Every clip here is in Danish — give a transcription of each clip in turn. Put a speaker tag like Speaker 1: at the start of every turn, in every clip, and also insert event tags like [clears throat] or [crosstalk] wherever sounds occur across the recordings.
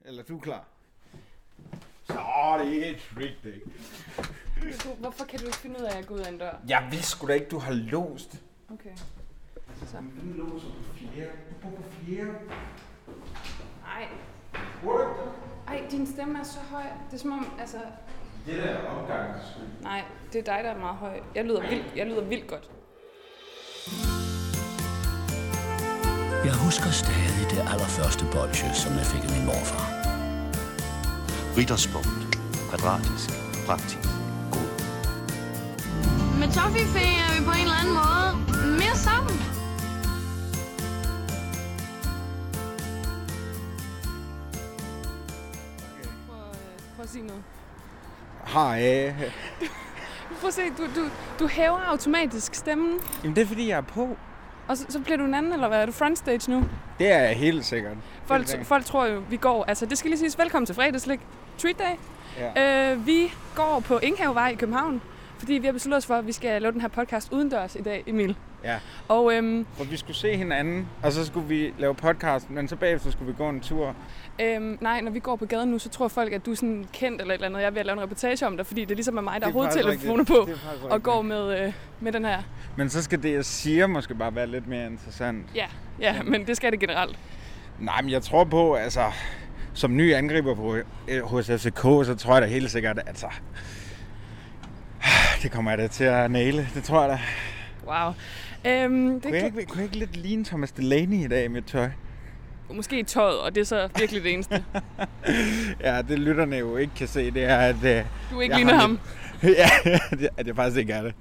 Speaker 1: Eller du er klar. Så det er et trick day.
Speaker 2: Du- Hvorfor kan du ikke finde ud af at gå ud af en dør?
Speaker 1: Jeg vidste sgu da ikke, du har låst.
Speaker 2: Okay.
Speaker 1: Du låser på fjerde. Du bor på fjerde.
Speaker 2: Ej,
Speaker 1: Bor du ikke der?
Speaker 2: ej, din stemme er så høj. Det er som om, altså...
Speaker 1: Det der er opgangsskud.
Speaker 2: Nej, det er dig, der er meget høj. Jeg lyder vildt, jeg lyder vildt godt.
Speaker 3: Jeg husker stadig det allerførste bolsje, som jeg fik af min morfar.
Speaker 4: Ritterspunkt. Kvadratisk. Praktisk. God.
Speaker 5: Med Toffifee er vi på en eller anden måde mere sammen.
Speaker 2: Prøv, øh, prøv at sige noget.
Speaker 1: Hej.
Speaker 2: Prøv at se, du, du, du hæver automatisk stemmen,
Speaker 1: Jamen det er fordi, jeg er på.
Speaker 2: og så, så bliver du en anden, eller hvad? Er du frontstage nu?
Speaker 1: Det er jeg helt sikkert. Helt
Speaker 2: Folk,
Speaker 1: sikkert.
Speaker 2: folk tror jo, vi går... Altså, det skal lige siges. Velkommen til fredagslik. Treat day.
Speaker 1: Ja.
Speaker 2: Øh, vi går på Inghavevej i København, fordi vi har besluttet os for, at vi skal lave den her podcast udendørs i dag, Emil.
Speaker 1: Ja.
Speaker 2: Og øhm,
Speaker 1: For vi skulle se hinanden, og så skulle vi lave podcast, men så bagefter skulle vi gå en tur.
Speaker 2: øhm, nej, når vi går på gaden nu, så tror folk, at du er sådan kendt eller et eller andet. Jeg er ved at lave en reportage om dig, fordi det ligesom er mig, der har
Speaker 1: Det er faktisk
Speaker 2: hovedtelefoner
Speaker 1: rigtigt.
Speaker 2: på
Speaker 1: Det er faktisk
Speaker 2: og
Speaker 1: rigtigt.
Speaker 2: går med, øh, med den her.
Speaker 1: Men så skal det, jeg siger, måske bare være lidt mere interessant.
Speaker 2: Ja, ja, men det skal det generelt.
Speaker 1: Nej, men jeg tror på, altså, som ny angriber på, øh, hos FCK, så tror jeg da helt sikkert, altså, [sighs] det kommer jeg da til at næle, det tror jeg da.
Speaker 2: Wow. Øhm, det
Speaker 1: Kunne jeg
Speaker 2: kan,
Speaker 1: ikke, kunne jeg ikke lidt ligne Thomas Delaney i dag i mit tøj?
Speaker 2: måske i tøjet, og det er så virkelig det eneste.
Speaker 1: Ja, det lytterne jo ikke kan se, det er, at... Øh, [laughs]
Speaker 2: Du ikke
Speaker 1: jeg
Speaker 2: ligner
Speaker 1: har
Speaker 2: ham.
Speaker 1: Mit... ja, at jeg faktisk ikke er det.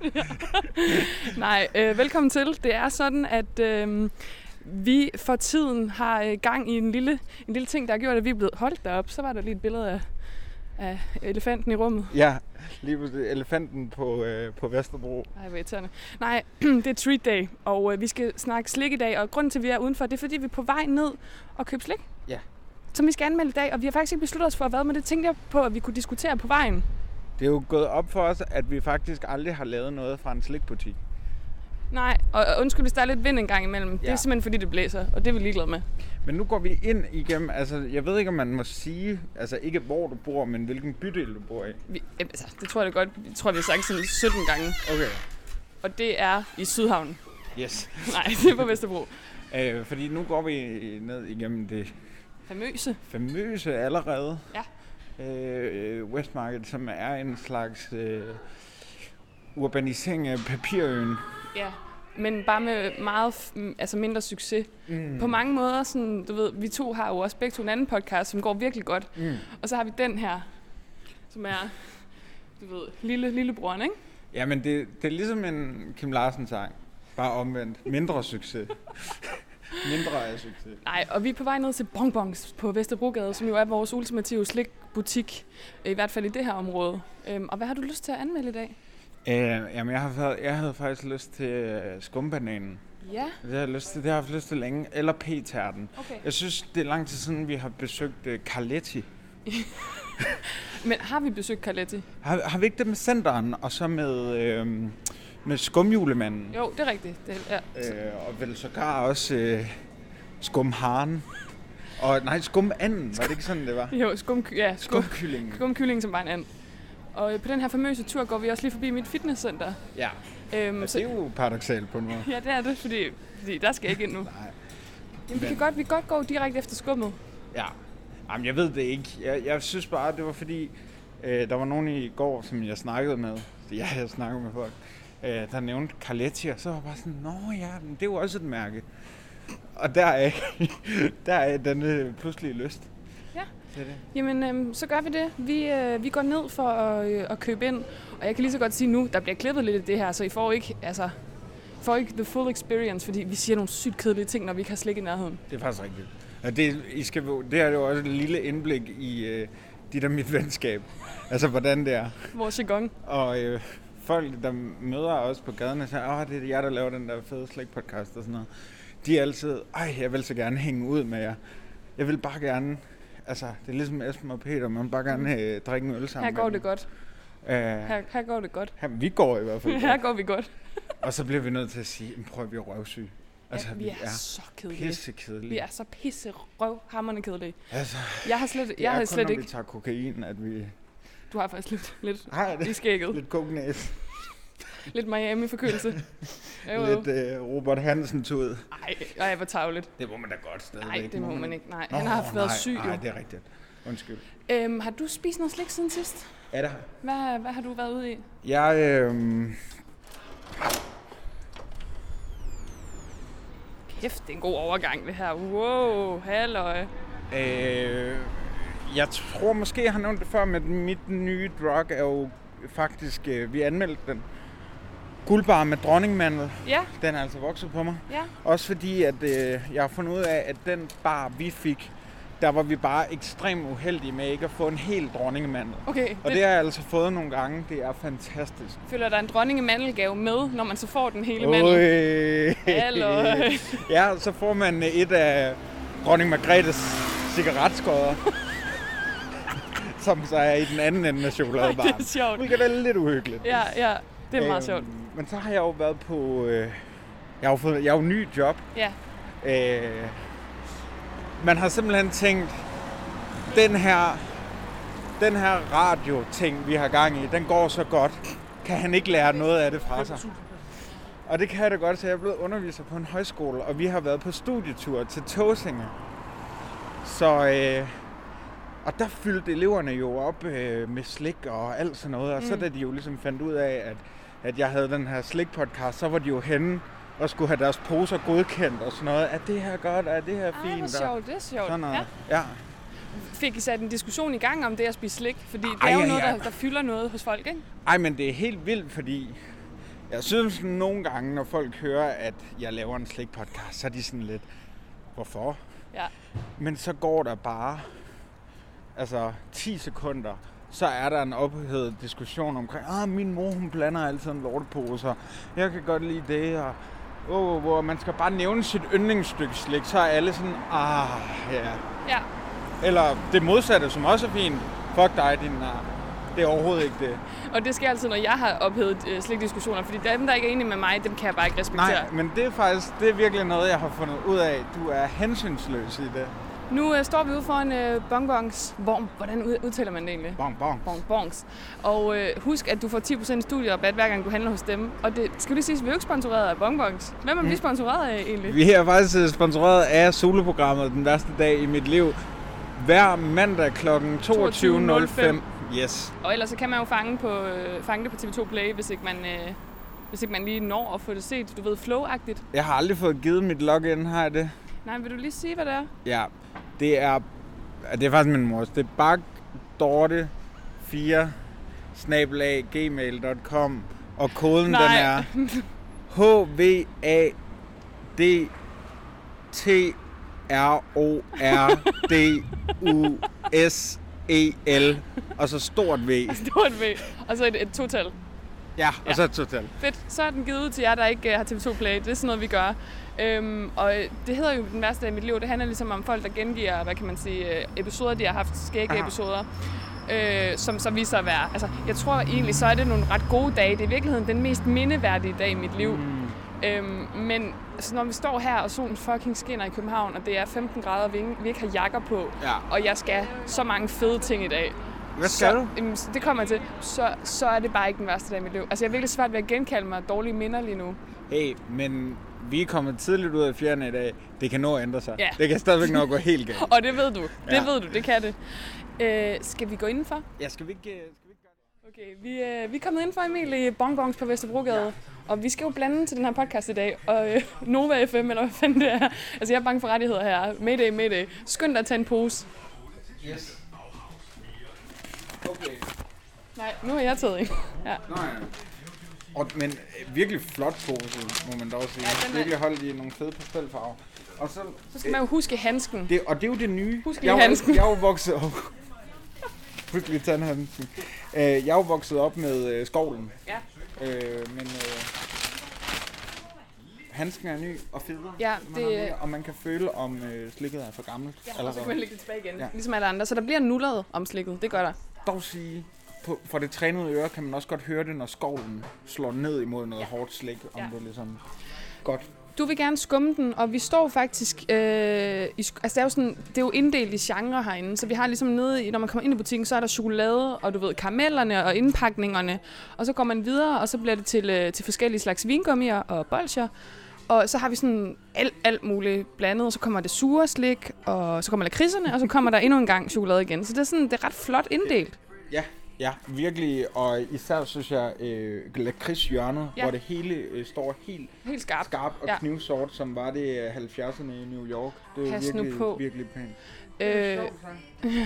Speaker 2: [laughs] Nej, øh, velkommen til. Det er sådan, at øh, vi for tiden har øh, gang i en lille, en lille ting, der har gjort, at vi er blevet holdt derop. Så var der lige et billede af, af elefanten i rummet.
Speaker 1: Ja, lige pludselig elefanten på, øh, på Vesterbro.
Speaker 2: Ej, hvor irriterende. Nej, [clears throat] det er treat day, og øh, vi skal snakke slik i dag. Og grunden til, at vi er udenfor, det er, fordi vi er på vej ned og købe slik.
Speaker 1: Ja.
Speaker 2: Som vi skal anmelde i dag, og vi har faktisk ikke besluttet os for, hvad, men det tænkte jeg på, at vi kunne diskutere på vejen.
Speaker 1: Det er jo gået op for os, at vi faktisk aldrig har lavet noget fra en slikbutik.
Speaker 2: Nej, og og undskyld, hvis der er lidt vind en gang imellem. Ja. Det er
Speaker 1: Ja.
Speaker 2: simpelthen, fordi det blæser, og det er vi ligeglade med.
Speaker 1: Men nu går vi ind igennem, altså jeg ved ikke, om man må sige, altså ikke hvor du bor, men hvilken bydel du bor i.
Speaker 2: Vi, jamen, altså, det tror jeg da godt. Jeg tror, vi har sagt sådan 17 gange.
Speaker 1: Okay.
Speaker 2: Og det er i Sydhavnen.
Speaker 1: Yes.
Speaker 2: [laughs] Nej, det er på Vesterbro.
Speaker 1: Øh, fordi nu går vi ned igennem det
Speaker 2: Famøse.
Speaker 1: famøse allerede.
Speaker 2: Ja.
Speaker 1: Øh, Westmarket, som er en slags øh, urbanisering af papirøen.
Speaker 2: Ja. Men bare med meget f- altså mindre succes. Mm. På mange måder, sådan, du ved, vi to har jo også begge to en anden podcast, som går virkelig godt. Mm. Og så har vi den her, som er, du ved, lille, lillebror, ikke?
Speaker 1: Jamen, det, det er ligesom en Kim Larsen-sang. Bare omvendt. Mindre succes. [laughs] Mindre af succes.
Speaker 2: Nej, og vi er på vej ned til Bonbons på Vesterbrogade, som jo er vores ultimative slikbutik, i hvert fald i det her område. Øhm, og hvad har du lyst til at anmelde i dag?
Speaker 1: Øh, jamen, jeg, har, fa- jeg havde faktisk lyst til øh, skumbananen.
Speaker 2: Ja,
Speaker 1: Det har jeg lyst til, det har jeg haft lyst til længe. Eller p-tærten.
Speaker 2: okay.
Speaker 1: Jeg synes, det er lang tid siden, vi har besøgt øh, Carletti.
Speaker 2: Men har vi besøgt Carletti?
Speaker 1: Har, har vi ikke det med centeren, og så med, øh, med skumjulemanden?
Speaker 2: Jo, det er rigtigt. Det, ja.
Speaker 1: Øh, og vel sågar også øh, skumharen. Og nej, skumanden. Var det ikke sådan, det var?
Speaker 2: Jo, skum, ja, skum,
Speaker 1: Skumkyllingen.
Speaker 2: skumkylling som bare en and. Og øh, på den her famøse tur går vi også lige forbi mit fitnesscenter.
Speaker 1: Ja.
Speaker 2: Øhm,
Speaker 1: Det er jo paradoxalt på en måde.
Speaker 2: ja, det er det, fordi, fordi der skal jeg ikke ind nu.
Speaker 1: Nej.
Speaker 2: Jamen, vi kan
Speaker 1: Men-
Speaker 2: godt, vi kan godt gå direkte efter skummet.
Speaker 1: Ja. Jamen, jeg ved det ikke. Jeg, jeg synes bare, det var fordi, øh, der var nogen i går, som jeg snakkede med. Ja, jeg snakkede med folk. Øh, der nævnte Carletti, og så var jeg bare sådan, Nå ja, men det er jo også et mærke. Og der er, [laughs] der er denne pludselige lyst.
Speaker 2: Ja.
Speaker 1: Til det.
Speaker 2: Jamen, øhm, så gør vi det. Vi, øh, vi går ned for at, øh, at købe ind. Og jeg kan lige så godt sige nu, der bliver klippet lidt i det her, så I får ikke, altså, I får ikke the full experience, fordi vi siger nogle sygt kedelige ting, når vi ikke har slik i nærheden.
Speaker 1: Det er faktisk rigtigt. Og det, I skal, det er jo også et lille indblik i øh, dit og mit venskab. Altså, hvordan det er.
Speaker 2: Vores jargon.
Speaker 1: Og øh, folk, der møder os på gaden og siger, åh, det er jer, der laver den der fede slik-podcast og sådan noget. De er altid, ej, jeg vil så gerne hænge ud med jer. Jeg vil bare gerne, altså, det er ligesom Esben og Peter, man vil bare gerne øh, drikke en øl sammen
Speaker 2: Her går det godt.
Speaker 1: Her...
Speaker 2: Her, her går det godt. [laughs]
Speaker 1: Her, vi går i hvert fald.
Speaker 2: Her
Speaker 1: godt.
Speaker 2: går vi godt.
Speaker 1: og så bliver vi nødt til at sige, "Men prøv at vi er røvsyge. Altså,
Speaker 2: ja, vi, er, så kedelige.
Speaker 1: pisse kedelige.
Speaker 2: Vi er så pisse røvhammerne kedelige.
Speaker 1: Altså,
Speaker 2: Jeg har slet,
Speaker 1: det
Speaker 2: jeg
Speaker 1: er
Speaker 2: har
Speaker 1: kun,
Speaker 2: slet
Speaker 1: når
Speaker 2: ikke...
Speaker 1: vi tager kokain, at vi
Speaker 2: Du har faktisk lidt, lidt
Speaker 1: har
Speaker 2: i
Speaker 1: det.
Speaker 2: skægget.
Speaker 1: Lidt kognæs.
Speaker 2: Lidt
Speaker 1: [laughs]
Speaker 2: Miami-forkølelse. Jo, jo.
Speaker 1: Lidt øh, Robert Hansen-tud.
Speaker 2: Ej, ej, hvor tavligt.
Speaker 1: Det må man da godt stadigvæk.
Speaker 2: Nej, det må man ikke. Nej, han har haft været syg
Speaker 1: Mm. Nej,
Speaker 2: jo.
Speaker 1: det er rigtigt. Undskyld.
Speaker 2: Øhm, har du spist noget slik siden sidst?
Speaker 1: Er der?
Speaker 2: Hvad, hvad har du været ude i?
Speaker 1: Jeg, øh,
Speaker 2: Kæft, det er en god overgang, det her. Wow, halløj.
Speaker 1: Øh, jeg tror måske, jeg har nævnt det før, men mit nye drug er jo faktisk, øh, vi anmeldte den, guldbar med dronningmandel.
Speaker 2: Ja,
Speaker 1: Den er altså vokset på mig.
Speaker 2: ja.
Speaker 1: Også fordi, at øh, jeg har fundet ud af, at den bar, vi fik, der var vi bare ekstremt uheldige med ikke at få en hel dronningemandel.
Speaker 2: Okay,
Speaker 1: Og det har jeg altså fået nogle gange. Det er fantastisk.
Speaker 2: føler der er en dronning i mandelgave med, når man så får den hele mandel.
Speaker 1: Øj.
Speaker 2: Halløj.
Speaker 1: [laughs] ja, så får man øh, et af dronning Margrethes
Speaker 2: [laughs]
Speaker 1: cigaretskodder, som så er i den anden ende af
Speaker 2: [laughs] Det er
Speaker 1: chokoladebaren.
Speaker 2: sjovt.
Speaker 1: Hvilket er lidt uhyggeligt. Øhm,
Speaker 2: Ja, ja, det er meget sjovt.
Speaker 1: Men så har jeg jo været på... Øh, jeg har jo fået, jeg har jo ny job.
Speaker 2: Ja,
Speaker 1: Øh, man har simpelthen tænkt, den her, den her radio-ting, vi har gang i, den går så godt. Kan han ikke lære noget af det fra sig? Og det kan jeg da godt, så jeg er blevet underviser på en højskole, og vi har været på studietur til Tåsinge. Så, øh, og der fyldte eleverne jo op øh, med slik og alt sådan noget, og mm. så da de jo ligesom fandt ud af, at, at jeg havde den her slik-podcast, så var de jo henne og skulle have deres poser godkendt og sådan noget. Er det her godt? Er det her
Speaker 2: Ej,
Speaker 1: fint?
Speaker 2: hvor
Speaker 1: Og
Speaker 2: sjovt, det er sjovt.
Speaker 1: sådan
Speaker 2: Ja.
Speaker 1: noget. Ja.
Speaker 2: Fik I sat en diskussion i gang om det at spise slik? Fordi det
Speaker 1: Ej,
Speaker 2: er jo
Speaker 1: ja,
Speaker 2: noget,
Speaker 1: ja.
Speaker 2: der, der fylder noget hos folk, ikke?
Speaker 1: Ej, men det er helt vildt, fordi jeg synes nogle gange, når folk hører, at jeg laver en slik-podcast, så er de sådan lidt, hvorfor?
Speaker 2: Ja.
Speaker 1: Men så går der bare altså 10 sekunder, så er der en ophedet diskussion omkring, ah, min mor hun blander altid en lortepose, og jeg kan godt lide det, og oh, hvor man skal bare nævne sit yndlingsstykke slik, så er alle sådan, ah, ja.
Speaker 2: Ja,
Speaker 1: Eller det modsatte, som også er fint, fuck dig, din nar. Det er overhovedet ikke det.
Speaker 2: og det sker altid, når jeg har ophedet øh, slikdiskussioner, fordi dem, der ikke er enige med mig, dem kan jeg bare ikke respektere.
Speaker 1: Nej, men det er faktisk, det er virkelig noget, jeg har fundet ud af. Du er hensynsløs i det.
Speaker 2: Nu øh, står vi ude foran øh, Bongbongs Vorm. Hvordan ud- udtaler man det egentlig?
Speaker 1: Bong, bong.
Speaker 2: Bongbongs. Og øh, husk, at du får 10% studierabat, hver gang du handler hos dem. Og det skal lige siges, at vi er jo ikke sponsoreret af Bongbongs. Hvem er vi sponsoreret af egentlig?
Speaker 1: Vi er faktisk øh, sponsoreret af soloprogrammet Den Værste Dag i Mit Liv. Hver mandag kl. 22.05. Yes.
Speaker 2: Og ellers så kan man jo fange, på, øh, fange det på TV2 Play, hvis ikke man... Øh, hvis ikke man lige når at få det set, du ved, flow-agtigt.
Speaker 1: Jeg har aldrig fået givet mit login, har jeg det?
Speaker 2: Nej, vil du lige sige, hvad det er? [laughs]
Speaker 1: Ja. Det er, det er faktisk min mors. Det er bak dorte 4 snabelag gmail.com og koden
Speaker 2: Nej.
Speaker 1: den er h v a d t r o r d u s e l og så stort V.
Speaker 2: Det var et V. Og så et, et total.
Speaker 1: Ja, og så et total.
Speaker 2: Fedt, så er den givet ud til jer, der ikke øh, har TV2 Play. Det er sådan noget, vi gør. Øhm, og øh, det hedder jo Den værste dag i mit liv. Det handler ligesom om folk, der gengiver, hvad kan man sige, øh, episoder, de har haft, skægge
Speaker 1: Aha.
Speaker 2: episoder. Øh, som så viser sig at være... Altså, jeg tror egentlig, så er det nogle ret gode dage. Det er i virkeligheden den mest mindeværdige dag i mit liv. Mm. Øhm, men altså, når vi står her, og solen fucking skinner i København, og det er 15 grader, og vi ikke, vi ikke har jakker på,
Speaker 1: Ja.
Speaker 2: og jeg skal så mange fede ting i dag,
Speaker 1: Hvad skal
Speaker 2: så,
Speaker 1: du?
Speaker 2: Jamen, så- det kommer jeg til. Så, så er det bare ikke den værste dag i mit liv. Altså, jeg er virkelig svært ved at genkalde mig dårlige minder lige nu.
Speaker 1: Hey, men vi er kommet tidligt ud af fjerne i dag. Det kan nå at ændre sig.
Speaker 2: Ja.
Speaker 1: Det kan stadigvæk nå at gå helt galt.
Speaker 2: Og det ved du. Det
Speaker 1: Ja.
Speaker 2: ja. ved du. Det kan det. Øh, skal vi gå indenfor?
Speaker 1: Ja, skal vi ikke, øh, skal vi ikke gøre det?
Speaker 2: Okay, vi, øh, vi er kommet indenfor, Emil, i Bongbongs på Vesterbrogade. Ja. Og vi skal jo blande til den her podcast i dag. Og øh, [laughs] Nova FM, eller hvad fanden det er. Altså, jeg er bange for rettigheder her. Mayday, mayday. Skynd dig at tage en pose.
Speaker 1: Yes. Okay.
Speaker 2: Nej, nu har jeg taget en. Ja.
Speaker 1: Nej. Og, men øh, virkelig flot pose, må man dog sige.
Speaker 2: Ja, den
Speaker 1: Ja,
Speaker 2: er-
Speaker 1: Virkelig holdt i nogle fede pastelfarver. Og, så,
Speaker 2: Så skal man jo huske handsken.
Speaker 1: det, og det er jo det nye.
Speaker 2: Husk lige
Speaker 1: jeg, er jo-
Speaker 2: handsken.
Speaker 1: Jeg er jo vokset op. [laughs] Husk lige tandhandsken. Øh, jeg er jo vokset op med øh, skovlen.
Speaker 2: Ja.
Speaker 1: Øh, men øh, handsken er ny og federe.
Speaker 2: Ja,
Speaker 1: Man
Speaker 2: det-
Speaker 1: har mere, og man kan føle, om øh, slikket er for gammelt.
Speaker 2: Og så kan man lægge det tilbage igen,
Speaker 1: Ja.
Speaker 2: ja. ligesom alle andre. Så der bliver nullet om slikket. Det gør der.
Speaker 1: dog sige, på, for det trænede øre kan man også godt høre det, når skovlen slår ned imod noget ja. hårdt slik, om ja.
Speaker 2: Ja.
Speaker 1: det ligesom godt
Speaker 2: Du vil gerne skumme den, og vi står faktisk... Øh, i, sk- altså, det er, jo sådan, det er jo inddelt i genre herinde, så vi har ligesom nede i... Når man kommer ind i butikken, så er der chokolade, og du ved, karamellerne og indpakningerne. Og så går man videre, og så bliver det til, øh, til forskellige slags vingummier og bolcher. Og så har vi sådan alt, alt muligt blandet, og så kommer det sure slik, og så kommer lakridserne, og så kommer der endnu en gang chokolade igen. Så det er sådan, det er ret flot inddelt.
Speaker 1: Ja, ja, virkelig. Og især synes jeg, øh, lakridshjørnet,
Speaker 2: Ja.
Speaker 1: hvor det hele øh, står helt
Speaker 2: Helt skarpt.
Speaker 1: skarpt og
Speaker 2: Ja.
Speaker 1: knivsort, som var det øh, 70'erne i New York. Det er
Speaker 2: Pas nu
Speaker 1: virkelig,
Speaker 2: på.
Speaker 1: virkelig pænt.
Speaker 2: Øh, vi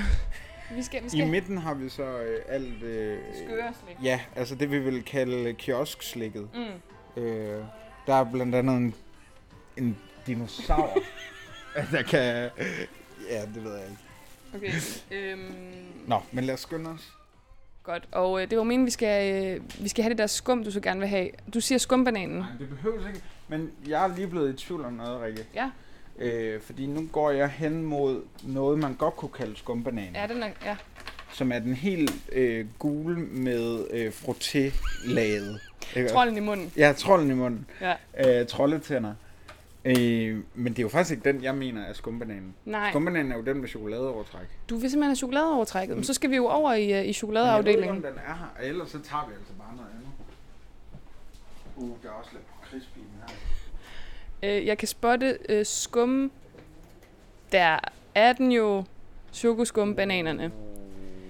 Speaker 2: skal, vi skal
Speaker 1: I midten har vi så øh, alt... Øh,
Speaker 2: skøre slik.
Speaker 1: Ja, altså det vi vil kalde kioskslikket.
Speaker 2: Mm.
Speaker 1: Øh, der er blandt andet en, en dinosaur, [laughs] der kan... Ja, det ved jeg ikke.
Speaker 2: Okay. Øhm,
Speaker 1: Nå, men lad os skynde os.
Speaker 2: Godt, og øh, det var meningen, vi skal, øh, vi skal have det der skum, du så gerne vil have. Du siger skumbananen.
Speaker 1: Nej, det behøves ikke. Men jeg er lige blevet i tvivl om noget, Rikke.
Speaker 2: Ja.
Speaker 1: Øh, fordi nu går jeg hen mod noget, man godt kunne kalde skumbanan.
Speaker 2: Ja, den er, ja.
Speaker 1: Som er den helt øh, gule med øh, frotté-laget. Ikke?
Speaker 2: Trolden i munden.
Speaker 1: Ja, trolden i munden.
Speaker 2: Ja.
Speaker 1: Øh, trolletænder. Øh, men det er jo faktisk ikke den, jeg mener er skumbananen.
Speaker 2: Nej,
Speaker 1: Skumbananen er jo den med chokoladeovertræk.
Speaker 2: du vil simpelthen have chokoladeovertrækket. Men så skal vi jo over i, øh, i
Speaker 1: Men
Speaker 2: chokoladeafdelingen.
Speaker 1: Jeg ved ikke, om den er her, og ellers så tager vi altså bare noget andet. Uh, der er også lidt crispy i den her.
Speaker 2: Øh, jeg kan spotte øh, skum. Der er den jo chokoskumbananerne.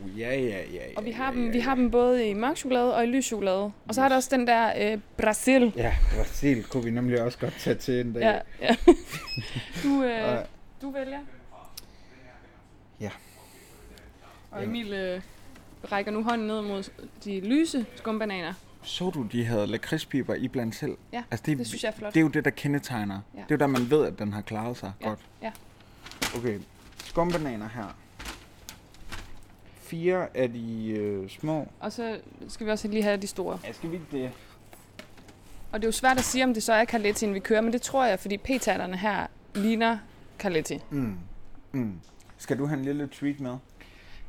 Speaker 1: Uh, ja, ja, ja, ja.
Speaker 2: Og vi har,
Speaker 1: ja, ja,
Speaker 2: dem, vi har
Speaker 1: ja.
Speaker 2: dem både i mørk chokolade og i lys chokolade. Og så har der også den der øh, Brasil.
Speaker 1: Ja, Brasil kunne vi nemlig også godt tage til en dag.
Speaker 2: Ja,
Speaker 1: [laughs]
Speaker 2: ja. Du, øh,
Speaker 1: Og-
Speaker 2: du vælger.
Speaker 1: Ja.
Speaker 2: Og Emil øh, rækker nu hånden ned mod de lyse skumbananer.
Speaker 1: Så du, de havde lakridspiber i blandt selv? Altså,
Speaker 2: Ja, det synes jeg er flot.
Speaker 1: Det er jo det, der kendetegner.
Speaker 2: Ja.
Speaker 1: Det er jo der, man ved, at den har klaret sig
Speaker 2: Ja,
Speaker 1: godt.
Speaker 2: ja.
Speaker 1: Okay, skumbananer her. Fire af de øh, små.
Speaker 2: Og så skal vi også lige have de store.
Speaker 1: Ja, skal vi ikke det?
Speaker 2: Og det er jo svært at sige, om det så er Carlettien, vi kører, men det tror jeg, fordi p-tatterne her ligner Carletti.
Speaker 1: Mm. Mm. Skal du have en lille tweet med?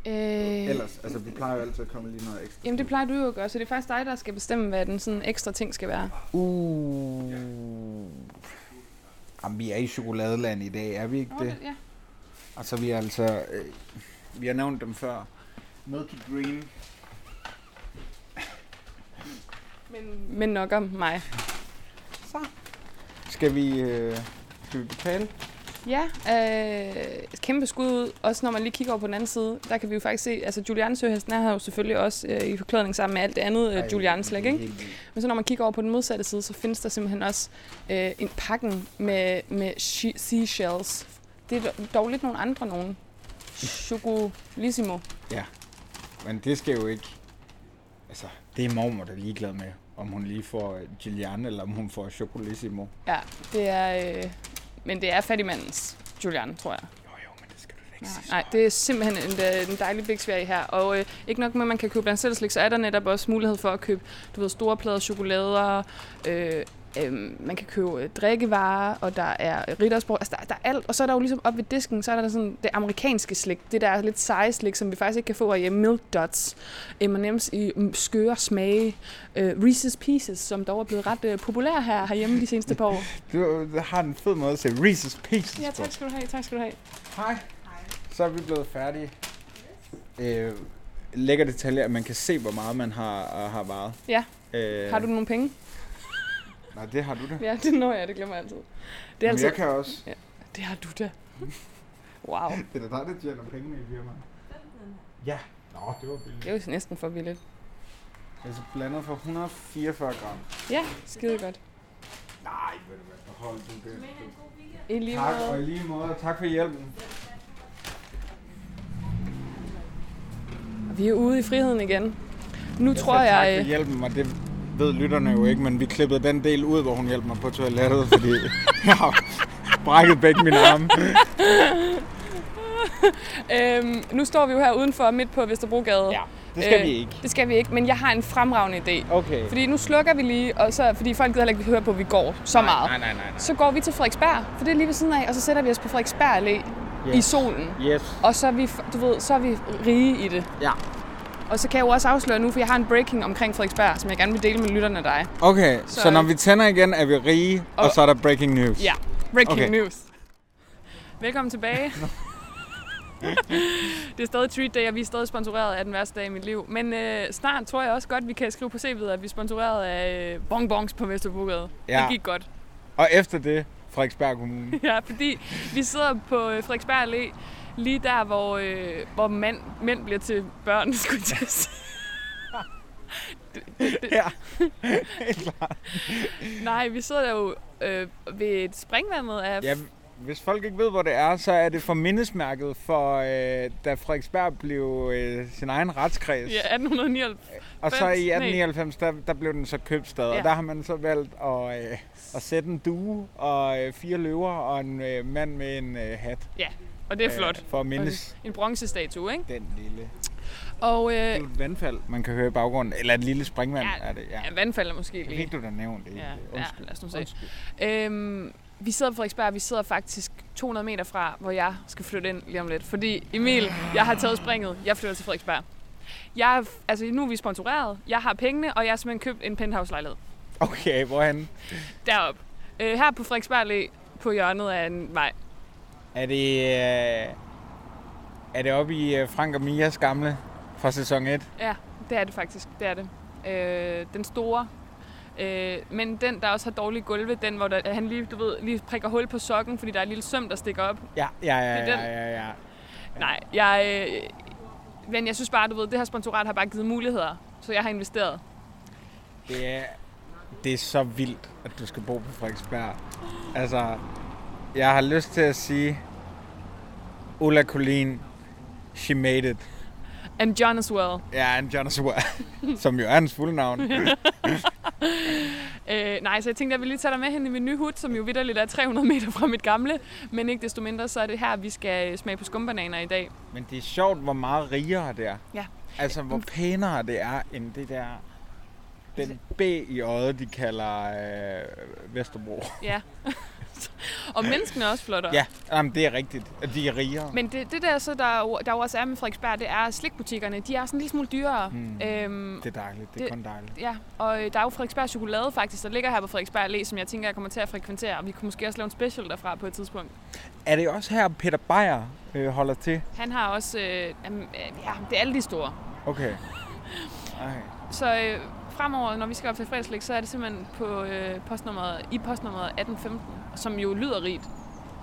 Speaker 2: Øh,
Speaker 1: Ellers, altså vi plejer jo altid at komme lige noget ekstra.
Speaker 2: Jamen det plejer du jo at gøre, så det er faktisk dig, der skal bestemme, hvad den sådan ekstra ting skal være.
Speaker 1: Uh. Jamen, vi er i chokoladeland i dag, er vi ikke det?
Speaker 2: ja.
Speaker 1: Altså, vi er altså... Øh, vi har nævnt dem før. Milky Green.
Speaker 2: men, men nok om mig.
Speaker 1: Skal vi... Øh, skal vi betale?
Speaker 2: Ja, øh, et kæmpe skud ud. Også når man lige kigger over på den anden side, der kan vi jo faktisk se, altså Julianne Søhesten er her jo selvfølgelig også øh, i forklædning sammen med alt det andet øh, Julianne slik, ikke? Men så når man kigger over på den modsatte side, så findes der simpelthen også øh, en pakken med, med she- seashells. Det er dog lidt nogle andre nogen. Chocolissimo.
Speaker 1: Men det skal jo ikke... Altså, det er mormor, der er ligeglad med, om hun lige får Julianne, eller om hun får Chocolissimo.
Speaker 2: Ja, det er... Øh, men det er fattigmandens Julianne, tror jeg.
Speaker 1: Jo, jo, men det skal du da ikke
Speaker 2: Nej,
Speaker 1: sige.
Speaker 2: nej, det er simpelthen en, øh, en dejlig biks, vi er i her. Og øh, ikke nok med, at man kan købe blandt selv slik, så er der netop også mulighed for at købe du ved, store plader chokolader. Øh, øh, man kan købe øh, drikkevarer, og der er riddersbrød. Altså, der, der er alt. Og så er der jo ligesom op ved disken, så er der sådan det amerikanske slik. Det der lidt seje slik, som vi faktisk ikke kan få herhjemme. Milk Dots, M&M's i mm, skøre smage, øh, Reese's Pieces, som dog er blevet ret øh, populær her herhjemme de seneste par år.
Speaker 1: Du øh, har en fed måde at sige Reese's Pieces
Speaker 2: Ja,
Speaker 1: på.
Speaker 2: tak skal du have. Tak skal du have.
Speaker 1: Hej. Så er vi blevet færdige. Øh, lækker detalje, at man kan se, hvor meget man har, har varet.
Speaker 2: Ja.
Speaker 1: Øh,
Speaker 2: Har du nogle penge?
Speaker 1: Nej, det har du da.
Speaker 2: Ja, det når jeg. Det glemmer jeg altid. Det er
Speaker 1: Men
Speaker 2: altså- altid
Speaker 1: jeg kan også.
Speaker 2: Det har du da. [laughs] Wow,
Speaker 1: Det er da dig, der tjener pengene i firmaet. Ja. Nå, det var billigt.
Speaker 2: det er jo næsten for vildt.
Speaker 1: Altså blandet for 144 gram.
Speaker 2: Ja, skide godt.
Speaker 1: Nej, ved du hvad, behold du det.
Speaker 2: I lige
Speaker 1: Tak,
Speaker 2: måde.
Speaker 1: og i lige måde, og tak for hjælpen.
Speaker 2: Og Vi er ude i friheden igen. Nu tror
Speaker 1: sagde
Speaker 2: jeg... øh.
Speaker 1: Tak for hjælpen, og det ved lytterne jo ikke, men vi klippede den del ud, hvor hun hjalp mig på toilettet, fordi [laughs] jeg har brækket begge mine arme.
Speaker 2: Øhm, nu står vi jo her udenfor midt på Vesterbrogade.
Speaker 1: det skal
Speaker 2: Øh,
Speaker 1: vi ikke.
Speaker 2: Det skal vi ikke, men jeg har en fremragende idé.
Speaker 1: Okay.
Speaker 2: Fordi nu slukker vi lige, og så, fordi folk gider heller ikke høre på, at vi går så meget.
Speaker 1: Nej, nej, nej, nej.
Speaker 2: Så går vi til Frederiksberg, for det er lige ved siden af, og så sætter vi os på Frederiksberg Allé
Speaker 1: Ja.
Speaker 2: i solen.
Speaker 1: Yes.
Speaker 2: Og så er, vi, f- du ved, så er vi rige i det.
Speaker 1: Ja.
Speaker 2: Og så kan jeg jo også afsløre nu, for jeg har en breaking omkring Frederiksberg, som jeg gerne vil dele med lytterne og dig.
Speaker 1: Okay, så, så
Speaker 2: Så-
Speaker 1: når vi tænder igen, er vi rige, og, og
Speaker 2: Og-
Speaker 1: så er der breaking news.
Speaker 2: Ja, breaking
Speaker 1: Okay.
Speaker 2: okay. news. Velkommen
Speaker 1: [laughs]
Speaker 2: tilbage. [laughs] det er stadig treat day, og vi er stadig sponsoreret af den værste dag i mit liv. Men øh, snart tror jeg også godt, vi kan skrive på CV'et, at vi er sponsoreret af øh, bonbons på Vesterbrogade.
Speaker 1: Ja.
Speaker 2: Ja. Det gik godt. [laughs]
Speaker 1: Og efter det, Frederiksberg Kommune.
Speaker 2: Ja, fordi vi sidder på øh, Frederiksberg Allé, lige der, hvor, øh, hvor mand, mænd bliver til børn, [laughs] skulle jeg til
Speaker 1: [laughs]
Speaker 2: at sige.
Speaker 1: ja,
Speaker 2: [laughs]
Speaker 1: helt klart.
Speaker 2: Nej, vi sidder jo øh, ved et springvandet af...
Speaker 1: Ja, hvis folk ikke ved, hvor det er, så er det for mindesmærket for, øh, da Frederiksberg blev øh, sin egen retskreds.
Speaker 2: Ja, 1899.
Speaker 1: Og så i
Speaker 2: Nej.
Speaker 1: 1899, der, der blev den så købstad, ja.
Speaker 2: Ja.
Speaker 1: og der har man så valgt at, øh, at sætte en due og øh, fire løver og en øh, mand med en øh, hat.
Speaker 2: Ja, og det er flot.
Speaker 1: Øh, for at mindes
Speaker 2: En, en bronzestatue, ikke?
Speaker 1: den lille...
Speaker 2: Og øh,
Speaker 1: Det er jo et vandfald, man kan høre i baggrunden. Eller et lille springvand
Speaker 2: Ja,
Speaker 1: er det, ja.
Speaker 2: ja, vandfald er måske
Speaker 1: Jeg ved
Speaker 2: lige.
Speaker 1: ikke, du der nævnte det.
Speaker 2: Ja, ja,
Speaker 1: Undskyld.
Speaker 2: lad os nu se.
Speaker 1: Undskyld.
Speaker 2: Øhm, vi sidder på Frederiksberg, vi sidder faktisk 200 meter fra, hvor jeg skal flytte ind lige om lidt. Fordi Emil, jeg har taget springet, jeg flytter til Frederiksberg. Jeg, er- altså nu er vi sponsoreret, jeg har pengene, og jeg har simpelthen købt en penthouse-lejlighed
Speaker 1: Okay, hvorhen?
Speaker 2: deroppe. Øh, her på Frederiksberg Allé, på hjørnet af en vej.
Speaker 1: Er det, øh, er det oppe i øh, Frank og Mias gamle fra sæson 1?
Speaker 2: Ja, det er det faktisk. Det er det. Øh, den store. Øh, men den, der også har dårlige gulve, den, hvor der, han lige, du ved, lige prikker hul på sokken, fordi der er et lille søm, der stikker op.
Speaker 1: Ja, ja, ja,
Speaker 2: Det er den.
Speaker 1: ja, ja, ja.
Speaker 2: Nej, jeg... Øh, men jeg synes bare, du ved, det her sponsorat har bare givet muligheder, så jeg har investeret.
Speaker 1: Det er, det er så vildt, at du skal bo på Frederiksberg. Altså, jeg har lyst til at sige, Ulla Colleen, she made it.
Speaker 2: And John as well.
Speaker 1: Ja, en Joshua, [laughs] som jo er hans fulde navn.
Speaker 2: Øh, nej, så jeg tænkte, jeg ville lige tage dig med hen i min nye hut, som jo vidderligt er 300 meter fra mit gamle. Men ikke desto mindre, så er det her, vi skal smage på skumbananer i dag.
Speaker 1: Men det er sjovt, hvor meget rigere det er.
Speaker 2: Ja.
Speaker 1: Altså, hvor pænere det er, end det der... Den B i øjet, de kalder øh, Vesterbro.
Speaker 2: Ja. [laughs] Og menneskene er også flottere.
Speaker 1: Ja, jamen, det er rigtigt. at De er rigere.
Speaker 2: Men det, det der, så der, jo- der jo også er med Frederiksberg, det er, at slikbutikkerne de er sådan en lille smule dyrere. Mm. Øhm,
Speaker 1: Det er dejligt. Det er
Speaker 2: Det-
Speaker 1: kun dejligt.
Speaker 2: ja, og øh, der er jo Frederiksberg Chokolade faktisk, der ligger her på Frederiksberg Allé, som jeg tænker, jeg kommer til at frekventere. Og vi kunne måske også lave en special derfra på et tidspunkt.
Speaker 1: Er det også her, Peter Beyer øh, holder til?
Speaker 2: Han har også... Øh, jamen, øh, ja, det er alle de store.
Speaker 1: Okay. Ej.
Speaker 2: Så øh, fremover, når vi skal op til fredagslæg, så er det simpelthen på, øh, postnummeret, i postnummeret 1815, som jo lyder rigt.